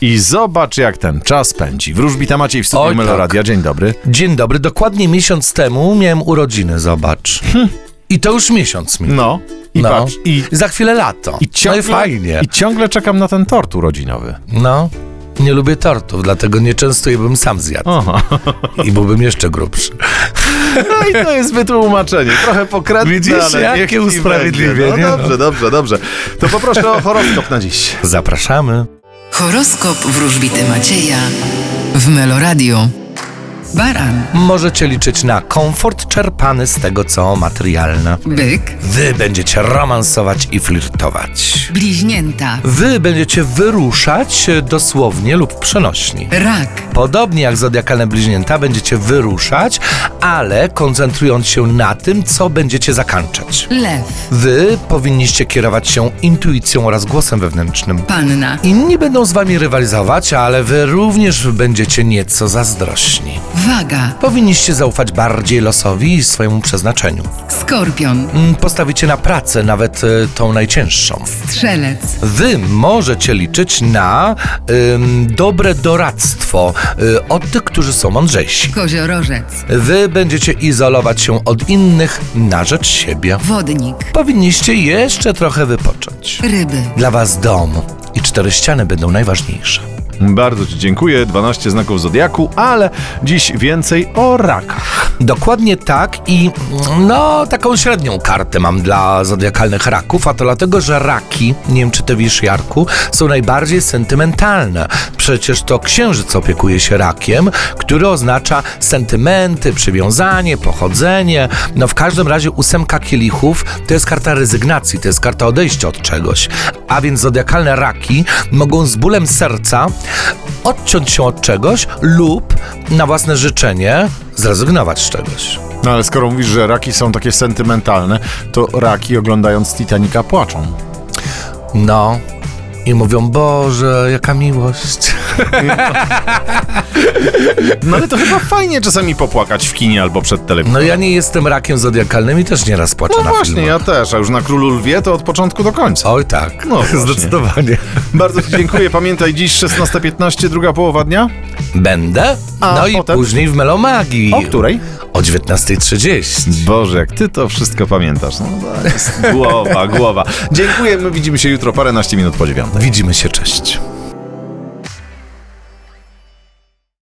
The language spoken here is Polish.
I zobacz, jak ten czas pędzi. Wróżbita Maciej w studiu Oj, Meloradia. Dzień dobry. Dzień dobry, dokładnie miesiąc temu miałem urodziny, zobacz. Hmm. I to już miesiąc mi. No. I No. patrz. I, Za chwilę lato. i ciągle, no i fajnie. I ciągle czekam na ten tort urodzinowy. No. Nie lubię tortów, dlatego nie często je bym sam zjadł. Aha. I byłbym jeszcze grubszy. No i to jest wytłumaczenie. Trochę pokrętne, Widzisz, ale jakie niech ci będzie. usprawiedliwienie, No no. dobrze, dobrze, dobrze. To poproszę o horoskop na dziś. Zapraszamy. Horoskop wróżbity Macieja w Meloradio. Baran, Możecie liczyć na komfort czerpany z tego, co materialne. byk, Wy będziecie romansować i flirtować. bliźnięta, Wy będziecie wyruszać e, dosłownie lub w przenośni. rak, Podobnie jak zodiakalne bliźnięta będziecie wyruszać, ale koncentrując się na tym, co będziecie zakończać. lew, Wy powinniście kierować się intuicją oraz głosem wewnętrznym. panna, Inni będą z wami rywalizować, ale wy również będziecie nieco zazdrośni. waga, Powinniście zaufać bardziej losowi i swojemu przeznaczeniu. skorpion, Mm, Postawicie na pracę, nawet e, tą najcięższą. strzelec, Wy możecie liczyć na ym, dobre doradztwo y, od tych, którzy są mądrzejsi. koziorożec, Wy będziecie izolować się od innych na rzecz siebie. wodnik, Powinniście jeszcze trochę wypocząć. ryby. Dla Was dom i cztery ściany będą najważniejsze. Bardzo Ci dziękuję. 12 znaków Zodiaku, ale dziś więcej o rakach. Dokładnie tak i no taką średnią kartę mam dla zodiakalnych raków, a to dlatego, że raki, nie wiem czy ty wiesz Jarku, są najbardziej sentymentalne. Przecież to księżyc opiekuje się rakiem, który oznacza sentymenty, przywiązanie, pochodzenie. No w każdym razie ósemka kielichów to jest karta rezygnacji, to jest karta odejścia od czegoś. A więc zodiakalne raki mogą z bólem serca odciąć się od czegoś lub na własne życzenie zrezygnować z czegoś. No ale skoro mówisz, że raki są takie sentymentalne, to raki oglądając Titanica płaczą. No. I mówią, Boże, jaka miłość. No ale to chyba fajnie czasami popłakać w kinie albo przed telewizorem. No ja nie jestem rakiem zodiakalnym i też nieraz płaczę No na właśnie, filmach. ja też, a już na Królu Lwie to od początku do końca. Oj tak, No właśnie. zdecydowanie. Bardzo Ci dziękuję. Pamiętaj, dziś 16.15, druga połowa dnia. Będę, A no i potem? później w Melomagii. O której? O 19.30. Boże, jak Ty to wszystko pamiętasz. No to jest głowa, głowa. Dziękuję, my widzimy się jutro paręnaście minut po dziewiątej. Widzimy się, cześć.